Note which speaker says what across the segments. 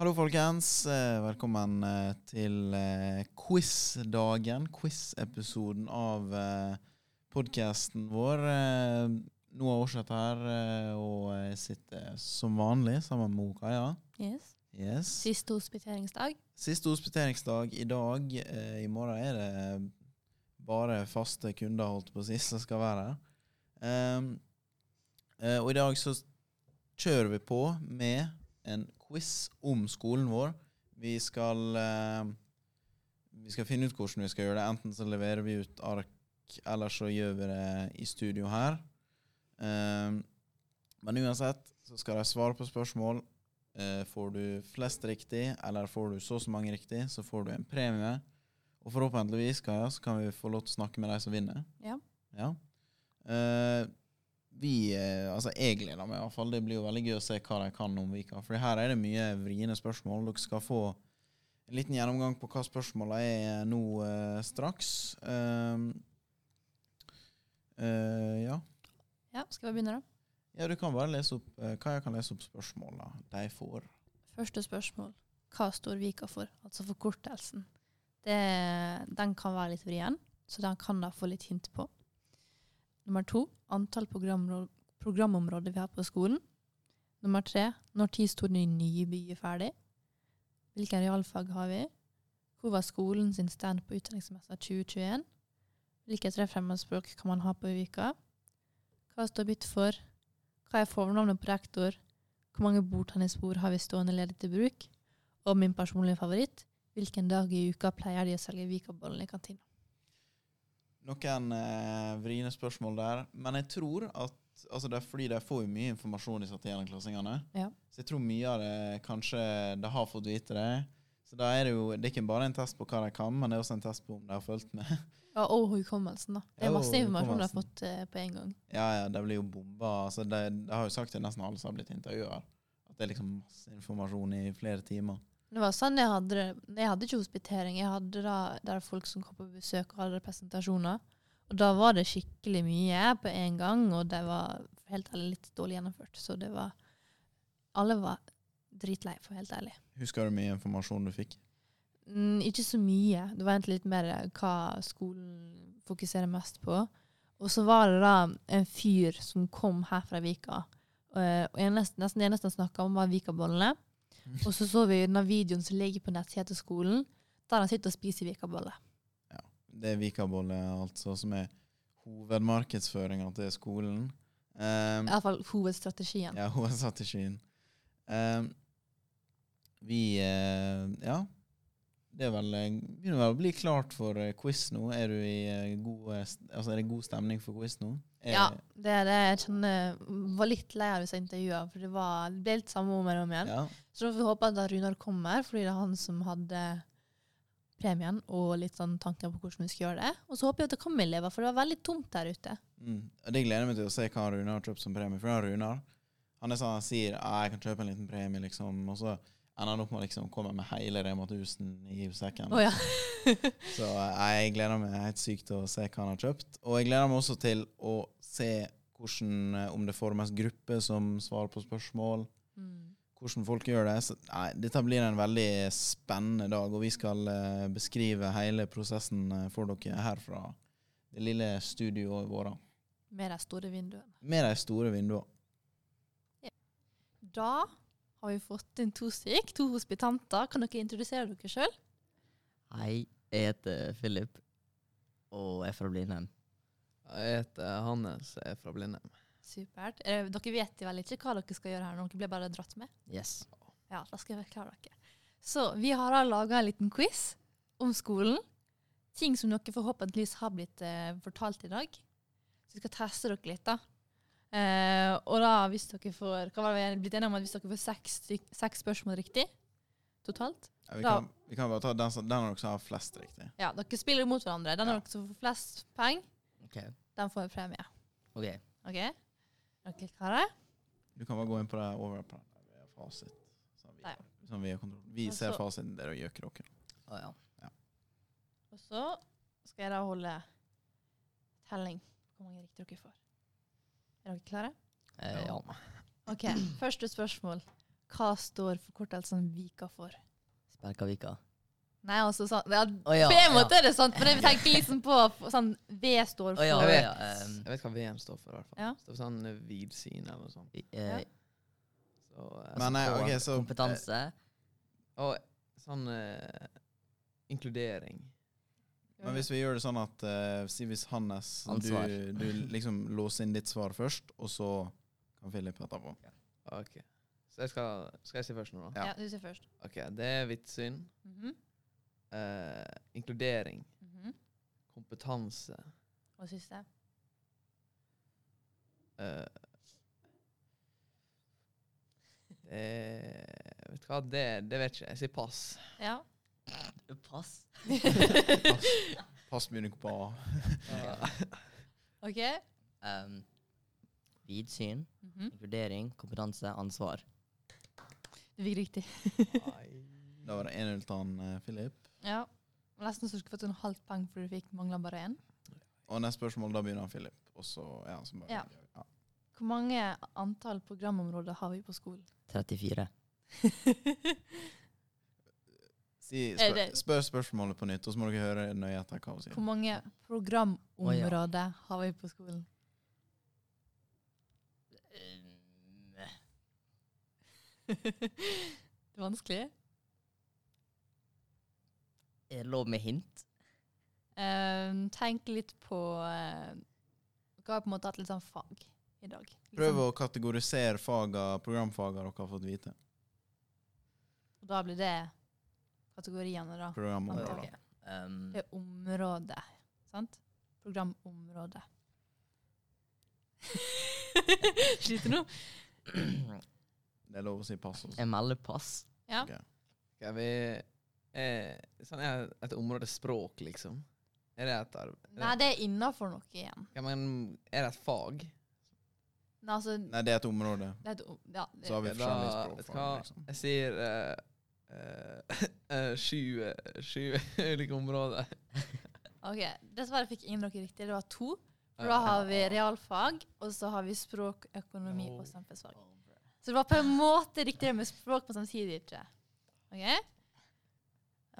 Speaker 1: Hallo, folkens. Eh, Velkommen eh, til eh, quiz-dagen, quiz-episoden av podkasten vår. Eh, Noah Aarseth her, eh, og jeg sitter som vanlig sammen med Kaja.
Speaker 2: Yes.
Speaker 1: Yes.
Speaker 2: Siste hospiteringsdag.
Speaker 1: Siste hospiteringsdag i dag. Eh, I morgen er det bare faste kunder holdt på å si, som skal være her. Ehm, eh, og i dag så kjører vi på med en quiz om skolen vår. Vi skal, eh, vi skal finne ut hvordan vi skal gjøre det. Enten så leverer vi ut ark, eller så gjør vi det i studio her. Ehm, men uansett så skal de svare på spørsmål. Eh, Får du flest riktig, eller får du så og så mange riktig, så får du en premie. Og forhåpentligvis Kaja, så kan vi få lov til å snakke med de som vinner.
Speaker 2: Ja.
Speaker 1: Ja. Eh, vi, eh, altså Jeg gleder meg i hvert fall. Det blir jo veldig gøy å se hva de kan om vika. For her er det mye vriene spørsmål. Dere skal få en liten gjennomgang på hva spørsmåla er nå eh, straks. Eh, eh, ja.
Speaker 2: Ja, skal vi begynne da?
Speaker 1: ja, du kan bare lese opp eh, Kaja kan lese opp spørsmåla de får.
Speaker 2: Første spørsmål. Hva står Vika for? Altså forkortelsen. Det, den kan være litt vrien, så den kan da få litt hint på. Nummer to. Antall programro- programområder vi har på skolen. Nummer tre. Når tid sto den nye byen ferdig? Hvilke realfag har vi? Hvor var skolen sin stand på utdanningsmessa 2021? Hvilke tre fremmedspråk kan man ha på Vika? Hva står bytt for? Hva er fornavnet på rektor? Hvor mange bordtennisbord har vi stående ledig til bruk? Og min personlige favoritt, hvilken dag i uka pleier de å selge Vikabollen i kantina?
Speaker 1: noen eh, vriene spørsmål der. Men jeg tror at altså det er fordi de får jo mye informasjon, disse tiendeklassingene.
Speaker 2: Ja.
Speaker 1: Så jeg tror mye av det kanskje de har fått vite det. Så da er det jo det er ikke bare en test på hva de kan, men det er også en test på om de har fulgt med.
Speaker 2: Ja, og hukommelsen, da. Det er
Speaker 1: Ja, og
Speaker 2: masse informasjon de har
Speaker 1: hukommelsen.
Speaker 2: fått eh, på en gang.
Speaker 1: Ja, ja, de blir jo bomba. Altså, de, de har jo sagt til nesten alle som har blitt intervjua, at det er liksom masse informasjon i flere timer.
Speaker 2: Det var sånn jeg hadde det. Jeg hadde ikke hospitering. Jeg hadde da der folk som kom på besøk og hadde presentasjoner. Og da var det skikkelig mye på en gang, og det var for helt ærlig litt dårlig gjennomført. Så det var Alle var dritlei, for å være helt ærlig.
Speaker 1: Husker du mye informasjon du fikk?
Speaker 2: Mm, ikke så mye. Det var egentlig litt mer eh, hva skolen fokuserer mest på. Og så var det da en fyr som kom her fra Vika. Eh, Og jeg nesten, nesten det eneste han snakka om, var Vikabollene. Og så så vi den videoen som ligger på nettsida til skolen, der han sitter og spiser vikaboller.
Speaker 1: Det er Vikabolle, altså, som er hovedmarkedsføringa til skolen. Um,
Speaker 2: Iallfall hovedstrategien.
Speaker 1: Ja, hovedstrategien. Um, vi eh, Ja. Det er vel, eh, begynner vel å bli klart for eh, quiz nå. Er, du i, eh, god, eh, st- altså, er det god stemning for quiz nå? Er,
Speaker 2: Ja, det er det jeg kjenner var litt lei av disse intervjuene, for det, var, det ble litt samme om og om igjen.
Speaker 1: ja.
Speaker 2: Så da får vi håpe at da Runar kommer, fordi det er han som hadde premien og litt sånn tanker på hvordan vi skal gjøre det. Og så håper jeg at det kommer elever, for det var veldig tomt der ute.
Speaker 1: Mm. Og Det gleder jeg meg til å se hva Rune har kjøpt som premie. For han Runar han er sånn, han sier «Ah, jeg kan kjøpe en liten premie, liksom. Og så ender han opp med å liksom, komme med hele Rema 1000 i sekken.
Speaker 2: Å ja.
Speaker 1: Så eh, jeg gleder meg helt sykt til å se hva han har kjøpt. Og jeg gleder meg også til å se hvordan, eh, om det formes grupper som svarer på spørsmål.
Speaker 2: Mm.
Speaker 1: Hvordan folk gjør det. Så, nei, dette blir en veldig spennende dag, og vi skal eh, beskrive hele prosessen eh, for dere her fra det lille studioet vårt.
Speaker 2: Med de store vinduene.
Speaker 1: Med de store vinduene.
Speaker 2: Da har vi fått inn to stykk, to hospitanter. Kan dere introdusere dere sjøl?
Speaker 3: Hei, jeg heter Philip, og jeg er fra Blindheim.
Speaker 4: Jeg heter Hannes, jeg er fra Blindheim.
Speaker 2: Supert. Eh, dere vet jo vel ikke hva dere skal gjøre her, nå. dere ble bare dratt med.
Speaker 3: Yes.
Speaker 2: Ja, da skal jeg forklare dere. Så vi har da laga en liten quiz om skolen. Ting som dere forhåpentligvis har blitt eh, fortalt i dag. Så vi skal teste dere litt, da. Eh, og da, hvis dere får hva var det vi er blitt enige om at hvis dere får seks, styk- seks spørsmål riktig totalt
Speaker 1: Ja, vi,
Speaker 2: Da-
Speaker 1: kan- vi kan bare ta den som den av dere som har flest riktig.
Speaker 2: Ja, dere spiller mot hverandre. Den av dere som får flest poeng,
Speaker 3: Ok.
Speaker 2: den får en premie.
Speaker 3: Ok.
Speaker 2: OK? Dere klare?
Speaker 1: Du kan bare gå inn på det over på den der fasit. Som vi,
Speaker 2: Nei.
Speaker 1: som vi, har kontroll. vi
Speaker 2: Og
Speaker 1: ser
Speaker 2: så-
Speaker 1: fasiten, dere gjør ikke dere.
Speaker 3: Å ja.
Speaker 2: Og så skal jeg da holde telling på hvor mange riktig dere får. Er dere klare?
Speaker 3: Eh, ja.
Speaker 2: Ok, første spørsmål. Hva står forkortelsen Vika for?
Speaker 3: Sperkavika.
Speaker 2: Nei, altså sånn ja,
Speaker 3: Å ja,
Speaker 2: På en
Speaker 3: ja.
Speaker 2: måte er det sant, men jeg tenker liksom på sånn V står for
Speaker 3: Å ja,
Speaker 4: Jeg vet,
Speaker 3: ja, ehm.
Speaker 4: jeg vet hva VM står for, i hvert fall.
Speaker 2: Ja.
Speaker 4: Det står for sånn eh, vidsyn eller noe sånt.
Speaker 3: I- eh,
Speaker 4: Så, eh,
Speaker 1: Men nei,
Speaker 3: og
Speaker 1: ok, så
Speaker 3: Kompetanse.
Speaker 4: Og sånn eh, inkludering.
Speaker 1: Men hvis vi gjør det sånn at eh, si hvis Hannes du,
Speaker 3: Ansvar.
Speaker 1: du liksom låser inn ditt svar først, og så kan Philip etterpå.
Speaker 4: Ok. Så jeg skal, skal jeg si først nå, da?
Speaker 2: ja. du sier først.
Speaker 4: Ok, Det er vitssyn.
Speaker 2: Mhm,
Speaker 4: Eh, inkludering.
Speaker 2: mhm.
Speaker 4: Kompetanse.
Speaker 2: Og siste.
Speaker 4: eh, det, eh, vet du hva, det, det vet ikke jeg. Jeg sier pass.
Speaker 2: Ja.
Speaker 3: Pass.
Speaker 1: Pass begynner ikke på A.
Speaker 2: OK?
Speaker 3: Ehm, vidsyn,
Speaker 2: Mhm.
Speaker 3: inkludering, kompetanse, ansvar.
Speaker 2: Du fikk riktig.
Speaker 1: Da var det 1-0 til han eh, Philip.
Speaker 2: Ja. Nesten så du skulle fått en halvt poeng for du fikk mangla bare én.
Speaker 1: Og neste spørsmål, da begynner han Philip. Og så, ja, så bare,
Speaker 2: Ja. Hvor mange antall programområder har vi på skolen?
Speaker 3: 34.
Speaker 1: Si,
Speaker 2: Er
Speaker 1: spør,
Speaker 2: det-
Speaker 1: spør spørsmålet på nytt, og så må dere høre nøye etter hva hun sier.
Speaker 2: Hvor mange programområder har vi på skolen?
Speaker 3: Ehm,
Speaker 2: Det er vanskelig.
Speaker 3: Er det lov med hint?
Speaker 2: Ehm, tenk litt på eh, Dere har på en måte hatt litt sånn fag i dag. Litt
Speaker 1: Prøv
Speaker 2: sånn-
Speaker 1: å kategorisere faga, programfaga dere har fått vite.
Speaker 2: og Da blir det kategoriene, da.
Speaker 1: Mm. Programområder.
Speaker 3: Ok, ehm,
Speaker 2: Det er området, sant? Programområdet. Sliter nå?
Speaker 1: Det er lov å si pass også.
Speaker 3: jeg melder pass.
Speaker 2: Ja.
Speaker 1: Ok.
Speaker 4: Skal vi eh, Sånn er et område språk, liksom. Er det et arv? er det-
Speaker 2: Nei, det er innafor noe igjen.
Speaker 4: Ja, men er det et fag?
Speaker 2: Nei, altså
Speaker 1: Nei, det er et område.
Speaker 2: det er et, om- ja,
Speaker 1: Så har
Speaker 2: det,
Speaker 1: vi
Speaker 4: Ja, Eh, da-
Speaker 1: forskjellige
Speaker 4: vet du
Speaker 1: språkfag.
Speaker 4: hva?
Speaker 1: Liksom.
Speaker 4: Jeg sier eh, eh, eh, sju eh, sju ulike områder.
Speaker 2: Ok, Dessverre fikk ingen dere riktig. Det var to. For da har vi realfag, og så har vi språk, økonomi og samfunnsfag. Så det var på en måte riktigere med språk, men samtidig ikke. Ok?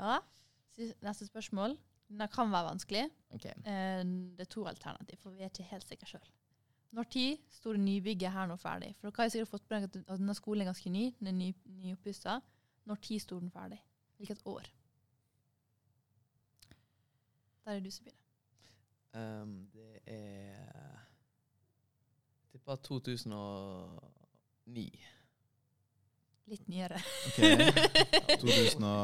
Speaker 2: Ja. Sy- Neste spørsmål. Den kan være vanskelig.
Speaker 3: Ok.
Speaker 2: Eh, Det er to alternativ, for vi er ikke helt sikre sjøl. Når tid sto det nybygget her nå ferdig? For dere har jo sikkert fått med dere at denne skolen er ganske ny. Den er ny, nyoppussa. Når tid sto den ferdig? Hvilket år? Der er du som begynner.
Speaker 4: Um, det er Jeg tipper 2009.
Speaker 2: Litt nyere.
Speaker 1: Ok, 2000 og...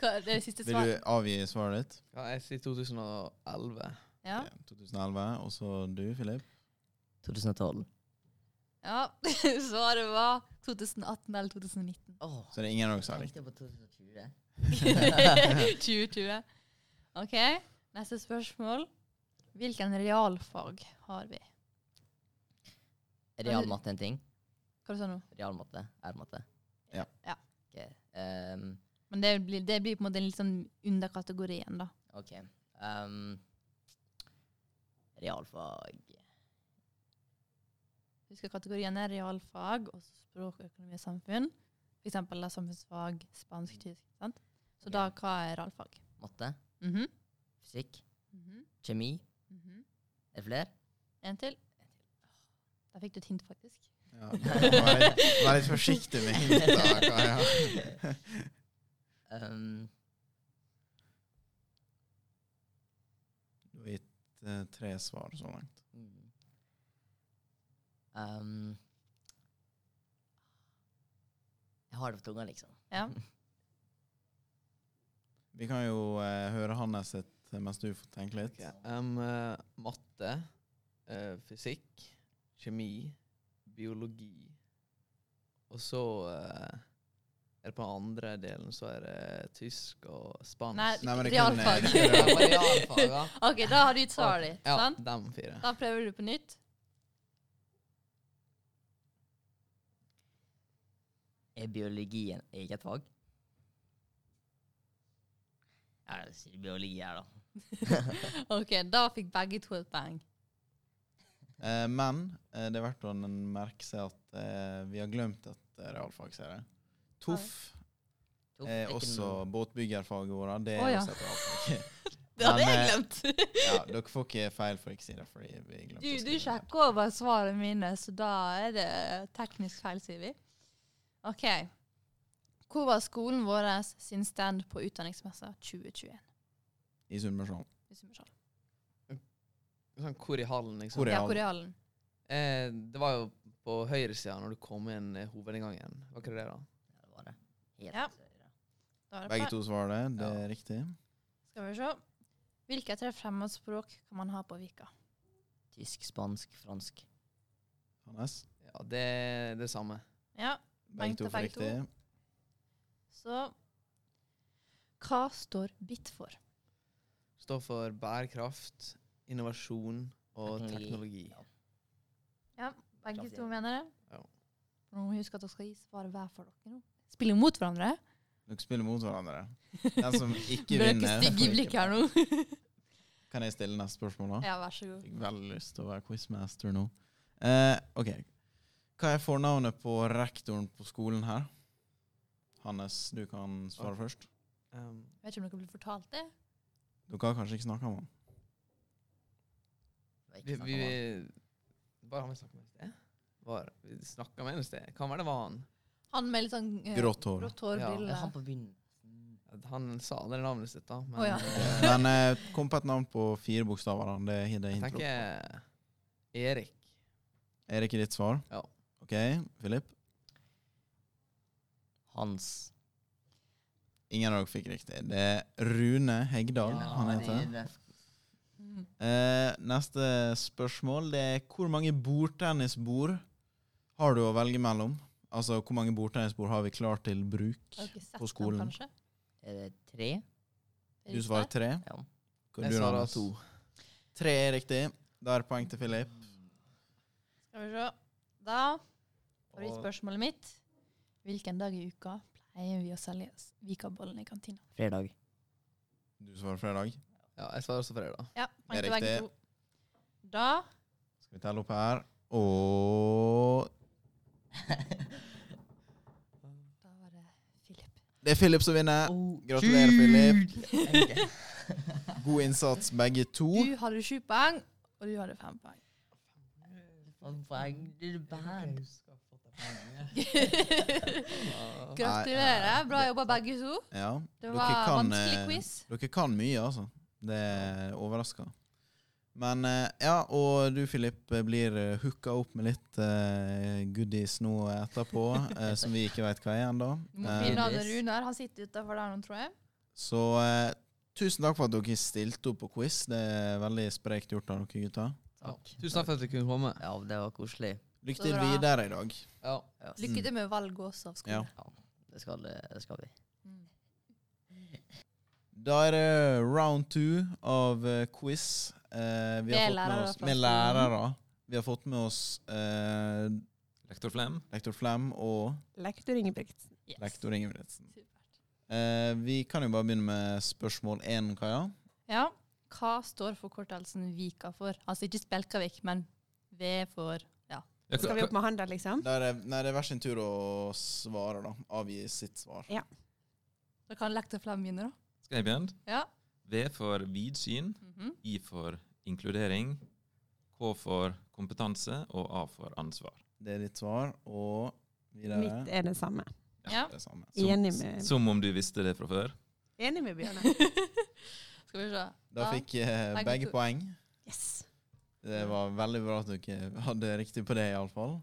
Speaker 2: Hva, det er det siste
Speaker 1: Vil du
Speaker 2: svaret?
Speaker 1: avgi svaret ditt?
Speaker 4: Ja, jeg sier 2011.
Speaker 2: Ja.
Speaker 1: Ok, 2011, og så du, Philip.
Speaker 3: 2012.
Speaker 2: ja. Svaret var 2018 eller 2019.
Speaker 3: Åh,
Speaker 1: Så det er ingen av dere som har riktig.
Speaker 3: tenkte på 2020.
Speaker 2: 2020. OK, neste spørsmål. Hvilken realfag har vi?
Speaker 3: Er realmatte en ting?
Speaker 2: Hva du sa du nå?
Speaker 3: Realmatte? R-matte?
Speaker 1: Ja.
Speaker 2: Ja.
Speaker 3: Ok. ehm,
Speaker 2: Men det blir, det blir på en måte litt sånn under kategorien, da.
Speaker 3: ok. Ehm, realfag.
Speaker 2: Husker kategorien er realfag og så språk, økonomi og samfunn. For eksempel da, samfunnsfag, spansk, tysk. sant? Så da, hva er realfag?
Speaker 3: Matte?
Speaker 2: Mhm,
Speaker 3: Fysikk?
Speaker 2: mhm,
Speaker 3: Kjemi?
Speaker 2: mhm.
Speaker 3: Er det flere?
Speaker 2: En til. Der fikk du et hint, faktisk.
Speaker 1: Ja, vær, litt, vær litt forsiktig med hinta. Kaja.
Speaker 3: Ehm,
Speaker 1: Du har gitt eh, tre svar så langt.
Speaker 3: mm. Ehm, jeg har det på tunga, liksom.
Speaker 2: Ja.
Speaker 1: Vi kan jo eh, høre Hannes sitt eh, mens du får tenke litt.
Speaker 4: Ok, um, eh, matte, eh, fysikk, kjemi, biologi. Og så eh, er det på den andre delen så er det tysk og spansk.
Speaker 1: Nei, men det kunne-
Speaker 2: realfag.
Speaker 1: det kunne-
Speaker 4: Det var realfag, da.
Speaker 2: OK, da har du gitt svaret ditt,
Speaker 4: Ja,
Speaker 2: sant?
Speaker 4: dem fire.
Speaker 2: Da prøver du på nytt.
Speaker 3: Er biologi en eget fag? Ja, jeg sier biologi her, da.
Speaker 2: OK, da fikk begge to et poeng.
Speaker 1: Eh, men eh, det er verdt å merke seg at eh, vi har glemt et eh, realfag, ser jeg. Toff
Speaker 3: Toff er
Speaker 1: er
Speaker 3: ikke
Speaker 1: Eh, også
Speaker 3: noe-
Speaker 1: båtbyggerfaget vårt. Det er
Speaker 2: Å, ja.
Speaker 1: også et avfag.
Speaker 2: Det hadde
Speaker 1: Men,
Speaker 2: jeg
Speaker 1: eh,
Speaker 2: glemt.
Speaker 1: ja, dere får ikke feil for ikke si det, fordi vi glemte
Speaker 2: Du,
Speaker 1: å
Speaker 2: du
Speaker 1: skrive det.
Speaker 2: sjekker over svarene mine, så da er det teknisk feil, sier vi. OK. Hvor var skolen vår sin stand på utdanningsmessa 2021?
Speaker 1: I Sunnmørsdalen.
Speaker 2: Hvis du må se.
Speaker 4: Sånn, hvor i hallen, liksom?
Speaker 1: Hvor i
Speaker 2: Ja,
Speaker 1: hallen?
Speaker 2: Korealen.
Speaker 4: Eh, det var jo på høyresida når du kom inn eh, hovedinngangen. Var ikke det det, da?
Speaker 3: Ja, det var det. Helt
Speaker 2: Ja.
Speaker 3: høyre.
Speaker 2: Da er det
Speaker 1: Begge
Speaker 2: feil.
Speaker 1: to svarer det. Det er riktig.
Speaker 2: Skal vi se. Hvilke tre fremmedspråk kan man ha på Vika?
Speaker 3: Tysk, spansk, fransk.
Speaker 1: Hannes.
Speaker 4: Ja, det er det samme.
Speaker 2: Ja,
Speaker 1: Begge
Speaker 2: Begge
Speaker 1: to får
Speaker 2: begge to.
Speaker 1: riktig.
Speaker 2: så Hva står BIT for?
Speaker 4: Står for bærekraft, innovasjon og teknologi.
Speaker 3: Teknologi.
Speaker 2: Begge
Speaker 3: Kraftig.
Speaker 2: to mener det?
Speaker 4: Ja.
Speaker 2: Nå må vi huske at dere skal gi svaret hver for dere nå. Spille mot hverandre?
Speaker 1: Dere spiller mot hverandre. Den som ikke
Speaker 2: Blir dere
Speaker 1: vinner får
Speaker 2: stygge i
Speaker 1: ikke
Speaker 2: blikket her nå?
Speaker 1: Kan jeg stille neste spørsmål, da?
Speaker 2: ja, vær så god.
Speaker 1: Fikk veldig lyst til å være quizmaster nå. Eh, OK. Hva er fornavnet på rektoren på skolen her? Hannes, du kan svare først.
Speaker 4: Um,
Speaker 2: Jeg vet ikke om dere blir fortalt det.
Speaker 1: Dere har kanskje ikke snakka om han?
Speaker 3: Det var ikke snakk
Speaker 4: vi,
Speaker 3: om
Speaker 4: vi,
Speaker 3: det.
Speaker 4: Hva var det han vi snakka med i sted? Var, vi snakket med henne i sted. Kan være det var han.
Speaker 2: Han med litt sånn eh,
Speaker 1: Grått hår.
Speaker 2: Grått hår,
Speaker 4: Ja,
Speaker 2: briller.
Speaker 3: Ja, han på begynnelsen.
Speaker 4: Han sa aldri navnet sitt, da. Men
Speaker 2: Å, ja.
Speaker 4: eh,
Speaker 1: Men eh, kom på et navn på fire bokstaver. da. Det, det er
Speaker 4: jeg
Speaker 1: intro.
Speaker 4: tenker Erik.
Speaker 1: Er det ikke ditt svar?
Speaker 4: Ja.
Speaker 1: OK, Philip?
Speaker 3: Hans.
Speaker 1: Ingen av dere fikk riktig. Det er Rune Hegdal han heter.
Speaker 3: det- det-
Speaker 2: Mm.
Speaker 1: Eh, neste spørsmål det er hvor mange bordtennisbord har du å velge mellom? Altså, hvor mange bordtennisbord har vi klart til bruk?
Speaker 2: Har dere sett
Speaker 1: På skolen.
Speaker 2: Ham, kanskje?
Speaker 3: Er det tre?
Speaker 2: Er
Speaker 1: Du
Speaker 2: det
Speaker 1: svarer
Speaker 2: der?
Speaker 1: tre.
Speaker 3: Ja.
Speaker 1: Hva
Speaker 4: Jeg altså-
Speaker 1: du,
Speaker 4: sa da
Speaker 1: Anders?
Speaker 4: to.
Speaker 1: Tre er riktig. Da er det poeng til Philip.
Speaker 2: Skal vi se. Da var det
Speaker 1: Og-
Speaker 2: spørsmålet mitt. Hvilken dag i uka pleier vi å selge s- Vikabollen i kantina?
Speaker 3: Fredag.
Speaker 1: Du svarer fredag.
Speaker 4: Ja, jeg svarer altså også fredag.
Speaker 2: Ja, poeng
Speaker 1: Det er
Speaker 2: til begge
Speaker 1: riktig.
Speaker 2: to. Da
Speaker 1: Skal vi telle opp her. Og
Speaker 2: Da var det Philip.
Speaker 1: det er Philip som vinner.
Speaker 3: Oh,
Speaker 1: Gratulerer, Philip.
Speaker 3: Philip.
Speaker 1: God innsats, begge to.
Speaker 2: Oh. Du hadde sju poeng, og du hadde fem poeng.
Speaker 3: Poeng til band.
Speaker 2: Gratulerer. Bra jobba, begge to.
Speaker 1: Ja,
Speaker 2: Det
Speaker 1: eh, Dere
Speaker 2: var en
Speaker 1: kan,
Speaker 2: vanskelig
Speaker 1: eh,
Speaker 2: quiz.
Speaker 1: Dere kan mye, altså. Det er overraska. Men eh, ja, og du Filip blir eh, hooka opp med litt eh, goodies nå etterpå, eh, som vi ikke veit hva er ennå.
Speaker 2: Du må Mm.
Speaker 1: Eh,
Speaker 2: finne han
Speaker 3: Yes.
Speaker 2: Runar. Han sitter utafor der nå, tror jeg.
Speaker 1: så eh, tusen takk for at dere stilte opp på quiz. Det er veldig sprekt gjort av dere gutter.
Speaker 3: Takk.
Speaker 4: Tusen takk for at du kunne komme.
Speaker 3: Ja, det var koselig.
Speaker 1: Lykke
Speaker 2: Så
Speaker 1: til
Speaker 2: bra.
Speaker 1: videre i dag.
Speaker 4: Ja.
Speaker 3: Ja,
Speaker 2: Lykke til med valget også av skole.
Speaker 3: det skal, det skal vi.
Speaker 2: Mm.
Speaker 1: Da er det round two av eh, quiz. Eh, vi har
Speaker 2: Med
Speaker 1: fått med
Speaker 2: lærere
Speaker 1: oss
Speaker 2: fra
Speaker 1: med
Speaker 2: skolen.
Speaker 1: lærere. Vi har fått med oss eh,
Speaker 5: Lektor Flem.
Speaker 1: lektor Flem og
Speaker 6: Lektor Ingebrigtsen.
Speaker 2: Yes.
Speaker 1: lektor Ingebrigtsen.
Speaker 2: Supert.
Speaker 1: Eh, vi kan jo bare begynne med spørsmål én, Kaja.
Speaker 2: Ja. Hva står forkortelsen Vika for? Altså ikke Spjelkavik, men V for
Speaker 5: Ja,
Speaker 6: Skal vi opp med handel, liksom?
Speaker 1: Der er, nei, det er hver sin tur å svare, da. Avgi sitt svar.
Speaker 2: Da kan lektor Flem begynne, da.
Speaker 5: skal jeg begynne?
Speaker 2: Ja.
Speaker 5: V for vidsyn,
Speaker 2: Mhm.
Speaker 5: I for inkludering, K for kompetanse og A for ansvar.
Speaker 1: Det er ditt svar, og videre
Speaker 6: Mitt er det samme.
Speaker 2: Ja.
Speaker 1: det samme.
Speaker 6: Enig med,
Speaker 5: Som om du visste det fra før.
Speaker 6: enig med Bjørnar.
Speaker 2: Skal vi se.
Speaker 1: Da fikk eh,
Speaker 2: Begge
Speaker 1: begge
Speaker 2: to.
Speaker 1: poeng.
Speaker 6: Yes.
Speaker 1: Det var veldig bra at dere hadde riktig på det, iallfall.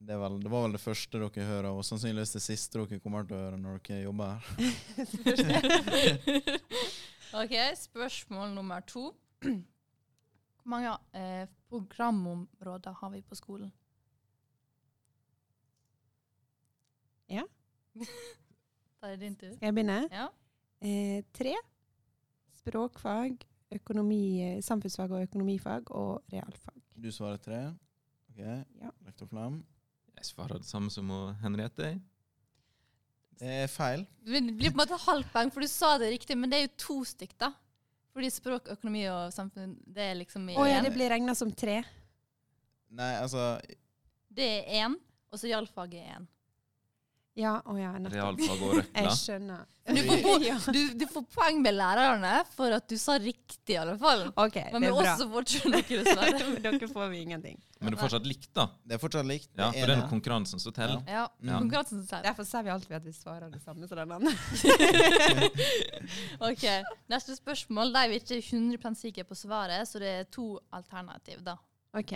Speaker 1: Det, er vel- det var vel det første dere hører, og sannsynligvis det siste dere kommer til å høre når dere jobber her.
Speaker 2: OK, spørsmål nummer to. Hvor mange eh, programområder har vi på skolen?
Speaker 6: Ja.
Speaker 2: da er det din tur.
Speaker 6: Skal jeg begynne?
Speaker 2: Ja.
Speaker 6: Eh, tre. Språkfag, økonomi, samfunnsfag og økonomifag og realfag.
Speaker 1: Du svarer tre. Ok,
Speaker 6: Ja.
Speaker 1: Lektor Flam.
Speaker 5: Jeg svarer det samme som hun, Henriette.
Speaker 1: Det er feil.
Speaker 2: Det blir på en måte halvt poeng, for du sa det riktig, men det er jo to stykk, da. Fordi språk, økonomi og samfunn, det er liksom i
Speaker 6: Å ja,
Speaker 2: én.
Speaker 6: det blir regna som tre.
Speaker 1: Nei, altså
Speaker 2: Det er én, og så realfag er én.
Speaker 6: Ja, å ja, nettopp.
Speaker 5: Realfag og røkla.
Speaker 6: Jeg skjønner.
Speaker 2: Du får, po-
Speaker 6: Ja.
Speaker 2: du, du får poeng med lærerne for at du sa riktig, i alle fall.
Speaker 6: OK,
Speaker 2: Men
Speaker 6: det
Speaker 2: med
Speaker 6: er bra.
Speaker 2: oss så får ikke dere dessverre.
Speaker 6: Dere får vi ingenting.
Speaker 5: Men det er fortsatt likt, da.
Speaker 1: Det er fortsatt likt.
Speaker 5: Ja, For det er konkurransen som teller.
Speaker 2: Ja,
Speaker 1: Ja.
Speaker 2: konkurransen sier.
Speaker 6: Derfor sier vi alltid at vi svarer det samme som den andre.
Speaker 2: Ok, Neste spørsmål. De er vi ikke 100 sikre på svaret, så det er to alternativ. da.
Speaker 6: OK.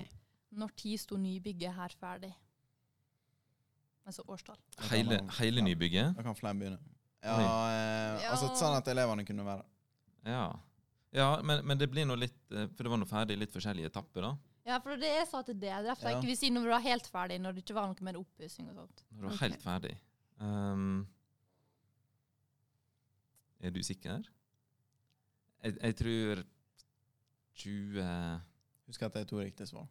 Speaker 2: Når tid sto nybygget her ferdig? Altså årstall.
Speaker 5: Hele, hele nybygget.
Speaker 1: Da kan Fleim begynne. Ja, eh,
Speaker 2: Ja.
Speaker 1: altså Sånn at elevene kunne være
Speaker 5: Ja, ja men, men det blir nå litt eh, For det var nå ferdig i litt forskjellige etapper, da.
Speaker 2: Ja, for det er så at det er derfor jeg
Speaker 1: Ja.
Speaker 2: ikke vil si når det var helt ferdig, når det ikke var noe mer oppussing og sånt.
Speaker 5: Når du var
Speaker 6: Ok.
Speaker 5: helt ferdig. Ehm, er du sikker? Jeg, jeg tror 20
Speaker 1: Husk at det er to riktige svar.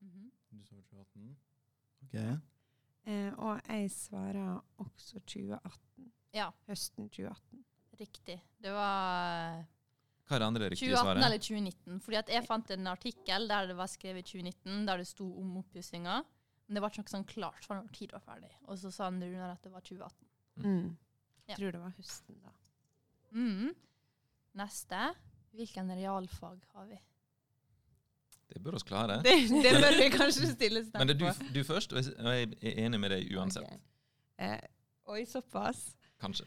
Speaker 6: Mhm.
Speaker 1: Du sa 2018. Ok.
Speaker 6: Eh, og jeg svarer også 2018.
Speaker 2: Ja.
Speaker 6: Høsten 2018.
Speaker 2: Riktig. Det var
Speaker 5: Hva er det andre riktige
Speaker 2: 2018 eller
Speaker 5: svaret?
Speaker 2: 2019. Fordi at jeg fant en artikkel der det var skrevet 2019, der det sto om oppussinga. Men det var ikke noe sånn klart for når tid det var ferdig. Og så sa han Runar at det var 2018.
Speaker 6: Mm.
Speaker 2: Ja.
Speaker 6: Tror det var høsten, da.
Speaker 2: Mm. Neste. Hvilken realfag har vi?
Speaker 5: Det bør oss klare.
Speaker 6: Det, det bør vi kanskje stille snart
Speaker 5: Men det er du,
Speaker 6: på.
Speaker 5: f- du først, og jeg s- og jeg er enig med deg uansett.
Speaker 6: Ok. Eh, oi, såpass.
Speaker 5: Kanskje.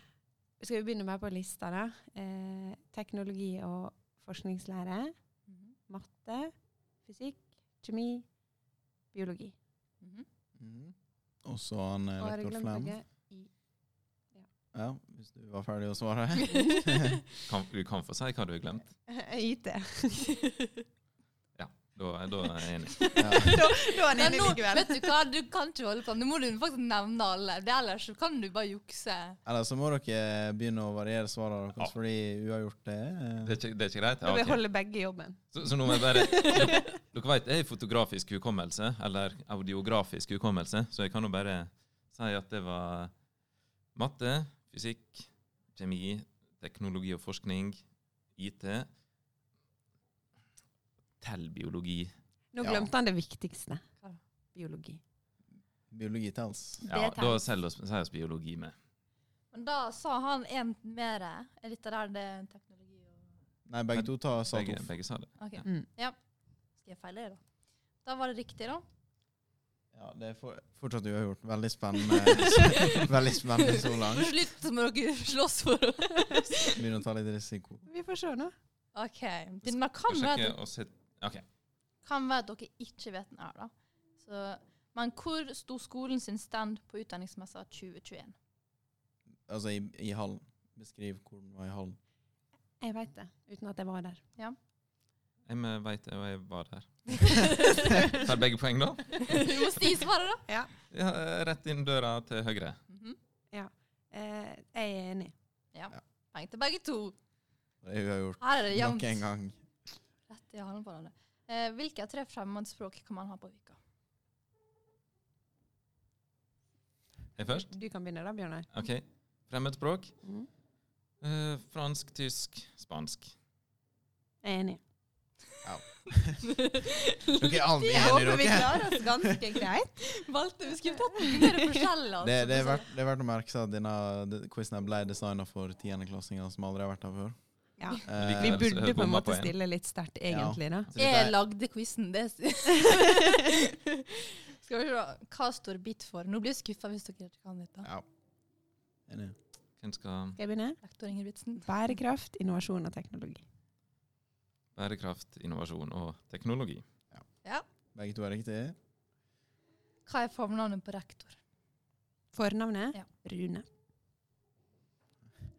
Speaker 6: Skal vi begynne med på lista, da? Eh, teknologi og forskningslære. Matte. Fysikk. Kjemi. Biologi.
Speaker 2: Mhm.
Speaker 1: Mm. Og så han eh,
Speaker 6: Og har jeg
Speaker 1: rektor
Speaker 6: glemt
Speaker 1: Fleim.
Speaker 6: noe?
Speaker 1: Ja, hvis du var ferdig å svare.
Speaker 5: Kan, du kan få si hva du har glemt.
Speaker 6: IT.
Speaker 5: Da, da er jeg enig.
Speaker 6: da, da er han
Speaker 2: Men
Speaker 6: enig
Speaker 2: nå,
Speaker 6: likevel.
Speaker 2: vet du hva, du kan ikke holde på. Nå må du faktisk nevne alle. Det ellers så kan du bare jukse.
Speaker 1: Eller så må dere begynne å variere svarene
Speaker 5: Ja.
Speaker 1: deres, fordi uavgjort det
Speaker 5: Det er
Speaker 1: er eh,
Speaker 5: ikke, det er ikke greit?
Speaker 6: Da
Speaker 5: Ja,
Speaker 6: vil
Speaker 5: ok.
Speaker 6: vi holde begge i jobben.
Speaker 5: Så, så nå må jeg bare Dere dere vet jeg har fotografisk hukommelse, eller audiografisk hukommelse, så jeg kan jo bare si at det var matte, fysikk, kjemi, teknologi og forskning, IT Tell biologi.
Speaker 6: Nå
Speaker 1: Ja.
Speaker 6: glemte han det viktigste.
Speaker 2: Hva?
Speaker 6: Biologi.
Speaker 1: biologitels.
Speaker 5: Ja,
Speaker 2: Det er
Speaker 5: da
Speaker 2: tell.
Speaker 5: selger oss- sier oss biologi med.
Speaker 2: Men da sa han en mer. Er dette der det er teknologi og
Speaker 1: Nei, begge to tar sa
Speaker 5: Begge,
Speaker 1: toff.
Speaker 5: begge sa det.
Speaker 2: OK.
Speaker 6: Mm.
Speaker 2: Skal jeg feile det, da? Da var det riktig, da.
Speaker 1: Ja, det er for, fortsatt uavgjort. Veldig spennende Veldig spennende så
Speaker 2: Til
Speaker 1: langt.
Speaker 2: slutt må dere slåss for det.
Speaker 1: Begynner å ta litt risiko.
Speaker 6: Vi får se nå.
Speaker 2: OK. Det, men kan
Speaker 5: Skal
Speaker 2: være,
Speaker 5: sjekke
Speaker 2: at-
Speaker 5: og se-
Speaker 2: kan være at dere ikke vet den her, da. Så, men hvor sto skolen sin stand på utdanningsmessa 2021?
Speaker 1: Altså i, i hallen. Beskriv hvor den var i hallen.
Speaker 6: Jeg veit det, uten at jeg var der.
Speaker 5: Jeg med vet det, og jeg var der. Tar begge poeng, da?
Speaker 2: Du må si svaret, da.
Speaker 5: Ja, rett inn døra til høyre.
Speaker 2: Mhm.
Speaker 6: Eh, jeg er enig.
Speaker 2: Poeng til begge to.
Speaker 1: Det er uavgjort
Speaker 2: Her er det
Speaker 1: nok
Speaker 2: jevnt.
Speaker 1: en gang.
Speaker 2: Rett i halen på hverandre. Eh, hvilke tre fremmedspråk kan man ha på Vika?
Speaker 5: Jeg først?
Speaker 6: Du kan begynne da, Bjørnar.
Speaker 5: OK. Fremmedspråk?
Speaker 6: Mhm.
Speaker 5: Eh, fransk, tysk, spansk.
Speaker 6: Jeg er enig.
Speaker 1: Dere er aldri
Speaker 6: Jeg
Speaker 1: enige,
Speaker 6: håper vi
Speaker 1: dere.
Speaker 6: klarer oss ganske greit.
Speaker 2: Valgte vi skulle tatt mye mer forskjell, altså.
Speaker 1: Det, det, er verdt, det er verdt å merke seg at denne de- quizen her ble designa for tiendeklassinger som aldri har vært her før.
Speaker 6: Ja.
Speaker 1: Eh,
Speaker 6: Vi
Speaker 5: Likevel så
Speaker 6: burde på en
Speaker 5: bomma på
Speaker 6: måte
Speaker 5: en.
Speaker 6: stille litt sterkt, egentlig. da.
Speaker 5: Så dette
Speaker 2: Jeg
Speaker 5: er-
Speaker 2: lagde quizen, det s- Skal vi se hva står bit for. Nå blir jeg skuffa hvis dere ikke kan dette.
Speaker 1: ja. Enig.
Speaker 5: Hvem skal
Speaker 6: Skal jeg begynne?
Speaker 2: Lektor Ingebrigtsen.
Speaker 6: Bærekraft, innovasjon og teknologi.
Speaker 5: Bærekraft, innovasjon og teknologi.
Speaker 1: Begge to er riktig.
Speaker 2: Hva er fornavnet på rektor?
Speaker 6: Fornavnet?
Speaker 2: Ja.
Speaker 6: Rune.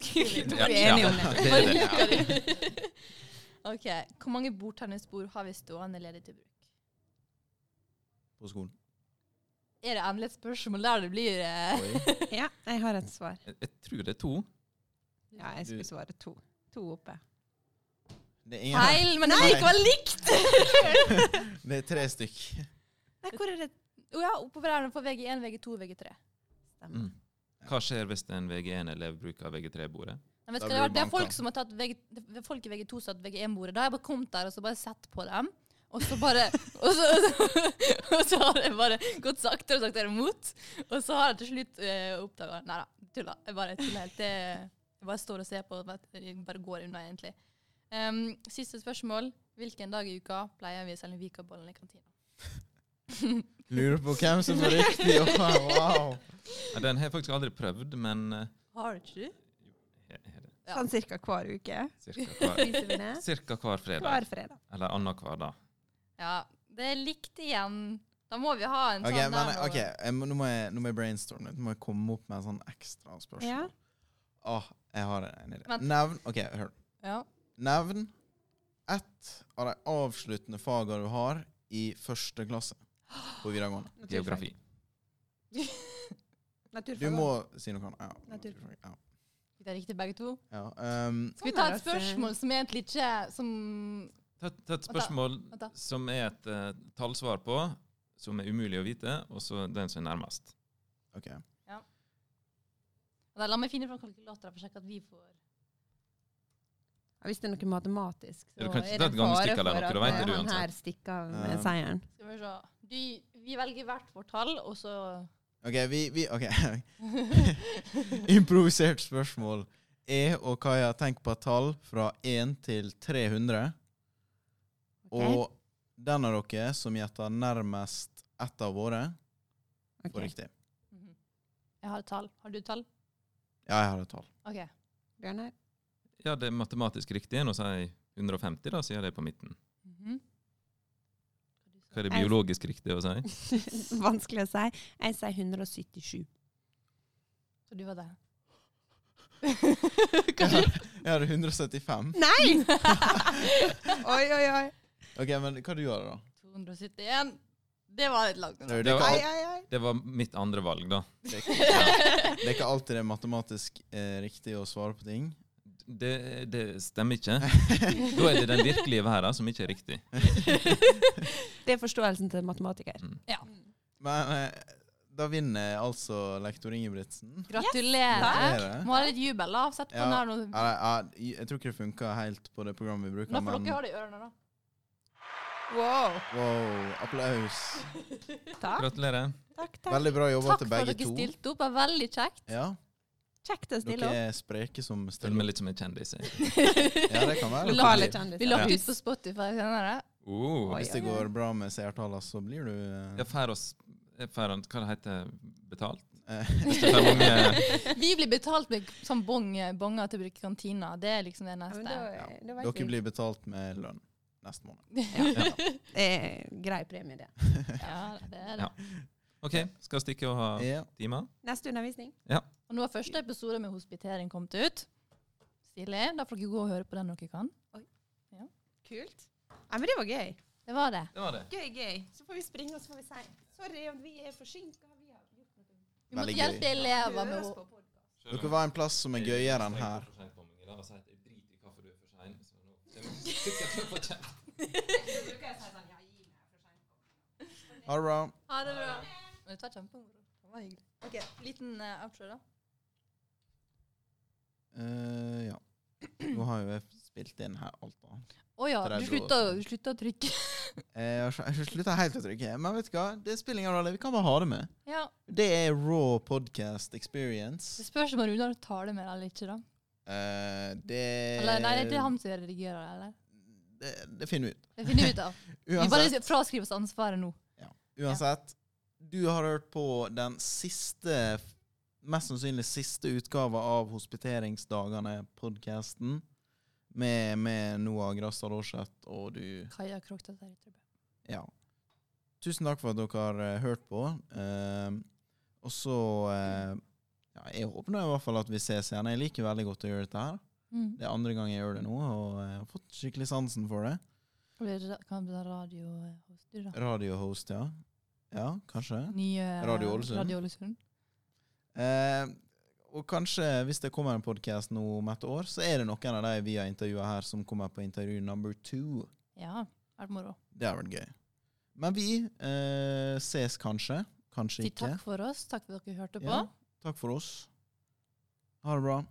Speaker 2: Ja,
Speaker 6: Vi er enige om
Speaker 5: det.
Speaker 6: det.
Speaker 5: er det.
Speaker 2: OK. Hvor mange bordtennisbord har vi stående ledig til bruk?
Speaker 1: På skolen.
Speaker 2: Er det endelig et spørsmål der det blir eh,
Speaker 1: Oi.
Speaker 6: Ja, jeg har et svar.
Speaker 5: Jeg, jeg tror det er to.
Speaker 6: Ja, jeg skulle svare to. To oppe.
Speaker 1: Det er, ingen,
Speaker 2: feil? Men det var likevel likt!
Speaker 1: det er tre stykk.
Speaker 6: Nei, hvor er det
Speaker 2: Å ja, oppover her på VG1, VG2, VG3.
Speaker 5: Mm.
Speaker 6: stemmer?
Speaker 5: Hva skjer hvis en VG1-elev bruker VG3-bordet?
Speaker 2: Nei, vet
Speaker 1: Da
Speaker 2: du hva, det,
Speaker 1: blir
Speaker 2: har-
Speaker 1: det
Speaker 2: det er
Speaker 1: banka.
Speaker 2: folk som har tatt VG, det er folk i VG2 som har tatt VG1-bordet. Da har jeg bare kommet der og så bare sett på dem. Og så bare og så, og, så, og så har jeg bare gått saktere og saktere mot. Og så har jeg til slutt uh, oppdaga Nei da, tulla. Jeg bare tuller helt. Det, jeg bare står og ser på og bare- jeg bare går unna, egentlig. Ehm, siste spørsmål. Hvilken dag i uka pleier vi å selge Vikabollen i kantina?
Speaker 1: Lurer på hvem som er riktig. Wow.
Speaker 5: Ja, Den har jeg faktisk aldri prøvd, men eh,
Speaker 2: Har ikke du?
Speaker 5: jeg har det
Speaker 2: Ja.
Speaker 6: Sånn cirka hver uke.
Speaker 5: cirka hver,
Speaker 6: Spiser vi det
Speaker 5: cirka hver
Speaker 6: hver
Speaker 5: fredag.
Speaker 6: fredag.
Speaker 5: Eller annenhver, da.
Speaker 2: Ja, det er likt igjen. Da må vi ha en
Speaker 1: Ok,
Speaker 2: sånn
Speaker 1: men,
Speaker 2: der nå.
Speaker 1: ok, jeg må, nå, må jeg, nå må jeg brainstorme litt. Nå må jeg komme opp med en sånn ekstra spørsmål.
Speaker 6: Ja.
Speaker 1: Åh, jeg har en idé.
Speaker 2: Vent.
Speaker 1: Nevn ok, hør.
Speaker 2: Ja.
Speaker 1: Nevn ett av de avsluttende fagene du har i første klasse på videregående.
Speaker 5: Geografi.
Speaker 1: Du må si noe annet. Ja.
Speaker 6: Naturfag.
Speaker 1: Ja.
Speaker 2: Det er riktig begge to.
Speaker 1: Ja. Um,
Speaker 2: Skal vi ta et spørsmål som egentlig ikke Som
Speaker 5: Ta, ta et spørsmål
Speaker 2: Vent da.
Speaker 5: som er et eh, tallsvar på, som er umulig å vite, og så den som er nærmest.
Speaker 1: ok.
Speaker 2: Da, La meg finne fram kalkulatorer for å sjekke at vi får
Speaker 6: Ja, Hvis det er noe matematisk,
Speaker 5: Ja,
Speaker 6: så
Speaker 5: du kan ikke
Speaker 6: er
Speaker 5: ta
Speaker 6: det
Speaker 5: et
Speaker 6: en
Speaker 5: gammelt
Speaker 6: fare
Speaker 5: stikk
Speaker 6: for
Speaker 5: eller
Speaker 6: at
Speaker 5: noe, da
Speaker 6: eh,
Speaker 5: vet du
Speaker 6: han
Speaker 5: uansett.
Speaker 6: her stikker av med
Speaker 1: Um,
Speaker 6: seieren.
Speaker 2: Skal vi se. Du, vi velger hvert vårt tall, og så
Speaker 1: Ok, vi, vi ok. Improvisert spørsmål. Jeg og Kaja tenker på et tall fra 1 til 300. Og den av dere som gjetter nærmest ett av våre,
Speaker 6: Ok.
Speaker 1: får riktig.
Speaker 2: Mhm. Jeg har et tall. Har du et tall?
Speaker 1: Ja, jeg har et tall.
Speaker 2: OK.
Speaker 6: Bjørnar.
Speaker 5: Ja, det er matematisk riktig. Nå sier jeg 150, da sier jeg det på midten.
Speaker 2: Mhm.
Speaker 5: Hva er det
Speaker 6: Jeg-
Speaker 5: biologisk riktig å si?
Speaker 6: Vanskelig å si. Jeg sier 177.
Speaker 2: Så du var det.
Speaker 1: Jeg har, jeg har 175.
Speaker 6: Nei! oi, oi, oi.
Speaker 1: Ok, men hva du gjør da?
Speaker 2: 271. Det var litt langt.
Speaker 1: Det er, jo- det, er
Speaker 5: Det
Speaker 1: ikke,
Speaker 5: var-
Speaker 6: Ai,
Speaker 1: al-
Speaker 6: ai, ai.
Speaker 5: Det var mitt andre valg, da.
Speaker 1: det, er ikke, det er ikke alltid det er matematisk eh, riktig å svare på ting.
Speaker 5: Det, det stemmer ikke. Da er det den virkelige verden som ikke er riktig.
Speaker 6: Det er forståelsen til en matematiker.
Speaker 2: Mm.
Speaker 1: Men eh, da vinner altså lektor Ingebrigtsen.
Speaker 2: Gratulerer.
Speaker 1: Gratulerer.
Speaker 2: Må ha litt jubel, da. Sett på
Speaker 1: Ja.
Speaker 2: den her nå.
Speaker 1: Ja, jeg, jeg, jeg tror ikke det funka helt på det programmet vi bruker,
Speaker 2: Nå får
Speaker 1: men
Speaker 2: dere høre det i ørene, da.
Speaker 6: Wow.
Speaker 1: wow, applaus.
Speaker 6: Takk,
Speaker 5: Gratulerer.
Speaker 6: takk. takk.
Speaker 1: Veldig bra jobba
Speaker 2: Takk
Speaker 1: til
Speaker 2: for at
Speaker 1: begge
Speaker 2: dere
Speaker 1: to.
Speaker 2: stilte opp. Det var veldig kjekt.
Speaker 1: Ja,
Speaker 6: Kjekt å stille
Speaker 1: Dere
Speaker 6: opp.
Speaker 1: er spreke som
Speaker 5: Føler meg
Speaker 1: stiller.
Speaker 5: litt som en kjendis. jeg.
Speaker 1: Ja, det kan være.
Speaker 6: Lokale
Speaker 1: Fordi
Speaker 2: Vi
Speaker 6: kjendiser.
Speaker 2: lagt ut på Spotify senere.
Speaker 5: Oh.
Speaker 6: Oi.
Speaker 1: Hvis det går bra med seertallene, så blir du eh,
Speaker 5: Jeg får oss jeg får en- Hva det heter Betalt?
Speaker 1: eh,
Speaker 5: Hvis jeg får mange
Speaker 2: Vi blir betalt med sånn bong, bonger til å bruke i kantina. Det er liksom det
Speaker 6: Ja,
Speaker 2: neste.
Speaker 6: men da-
Speaker 1: Ja.
Speaker 6: da vet vi.
Speaker 1: Dere blir betalt med lønn neste måned.
Speaker 6: Det er Eh, grei premie, det.
Speaker 2: Ja, det er det.
Speaker 5: Ja. OK, skal stikke og ha
Speaker 1: Ja.
Speaker 5: timer?
Speaker 6: Neste undervisning.
Speaker 2: Og nå har første episode med hospitering kommet ut. Stilig. Da får dere gå og høre på den dere kan.
Speaker 6: Kult. Ja, men det var gøy.
Speaker 2: Det var det.
Speaker 5: Det var det.
Speaker 6: Gøy, gøy. Så får vi springe, og så får vi si sorry om vi er forsinka. Vi har gjort noe.
Speaker 2: Vi måtte
Speaker 1: Veldig gøy.
Speaker 2: hjelpe elever med
Speaker 6: Høres
Speaker 2: ho-
Speaker 6: på podden.
Speaker 1: Dere var en plass som er gøyere enn her. Ha det bra.
Speaker 2: Ha det bra. Men det var kjempemoro. Det var hyggelig. Ok, Liten eh, outro, da.
Speaker 1: Eh, ja. Nå har jo jeg spilt inn her alt da.
Speaker 2: Å ja,
Speaker 1: Det er
Speaker 2: du
Speaker 1: bra.
Speaker 2: slutta, du slutta å trykke.
Speaker 1: Eh, Jeg har ikke- jeg har ikke slutta helt å trykke, men vet du hva? Det spiller ingen rolle. Vi kan bare ha det med.
Speaker 2: Ja,
Speaker 1: Det er raw podcast
Speaker 2: Det
Speaker 1: experience.
Speaker 2: spørs om Runar tar det med eller ikke. da.
Speaker 1: Eh, det,
Speaker 2: Eller, nei,
Speaker 1: Eh.
Speaker 2: det er han som redigerer det. eller?
Speaker 1: det Det finner vi ut.
Speaker 2: Det finner vi ut av. Vi bare
Speaker 1: Uansett,
Speaker 2: fraskriver oss ansvaret nå.
Speaker 1: uansett du har hørt på den siste Mest sannsynlig siste utgave av Hospiteringsdagene-podkasten. Med, med Noah Grasdal Aarseth og du
Speaker 2: Kaja Krogstad der i Trøbbel.
Speaker 1: Ja. Tusen takk for at dere har eh, hørt på. Eh, og så eh, ja, Jeg håper nå i hvert fall at vi ses igjen. Jeg liker veldig godt å gjøre dette her.
Speaker 2: Mm.
Speaker 1: Det er andre gang jeg gjør det nå, og jeg har fått skikkelig sansen for det.
Speaker 2: Og det ra- Kan bli radiohost, du, da.
Speaker 1: Radiohost, ja. Ja, kanskje.
Speaker 2: Nye eh,
Speaker 1: Radio Ålesund.
Speaker 2: Radio Ålesund.
Speaker 1: Eh, og kanskje hvis det kommer en podkast nå om et år, så er det noen av de vi har intervjua her, som kommer på intervju number two.
Speaker 2: Ja, vært moro.
Speaker 1: Det har vært gøy. Men vi eh, ses kanskje. Kanskje
Speaker 2: Si
Speaker 1: ikke.
Speaker 2: takk for oss. Takk for at dere hørte på.
Speaker 1: Ja, takk for oss. Ha det bra.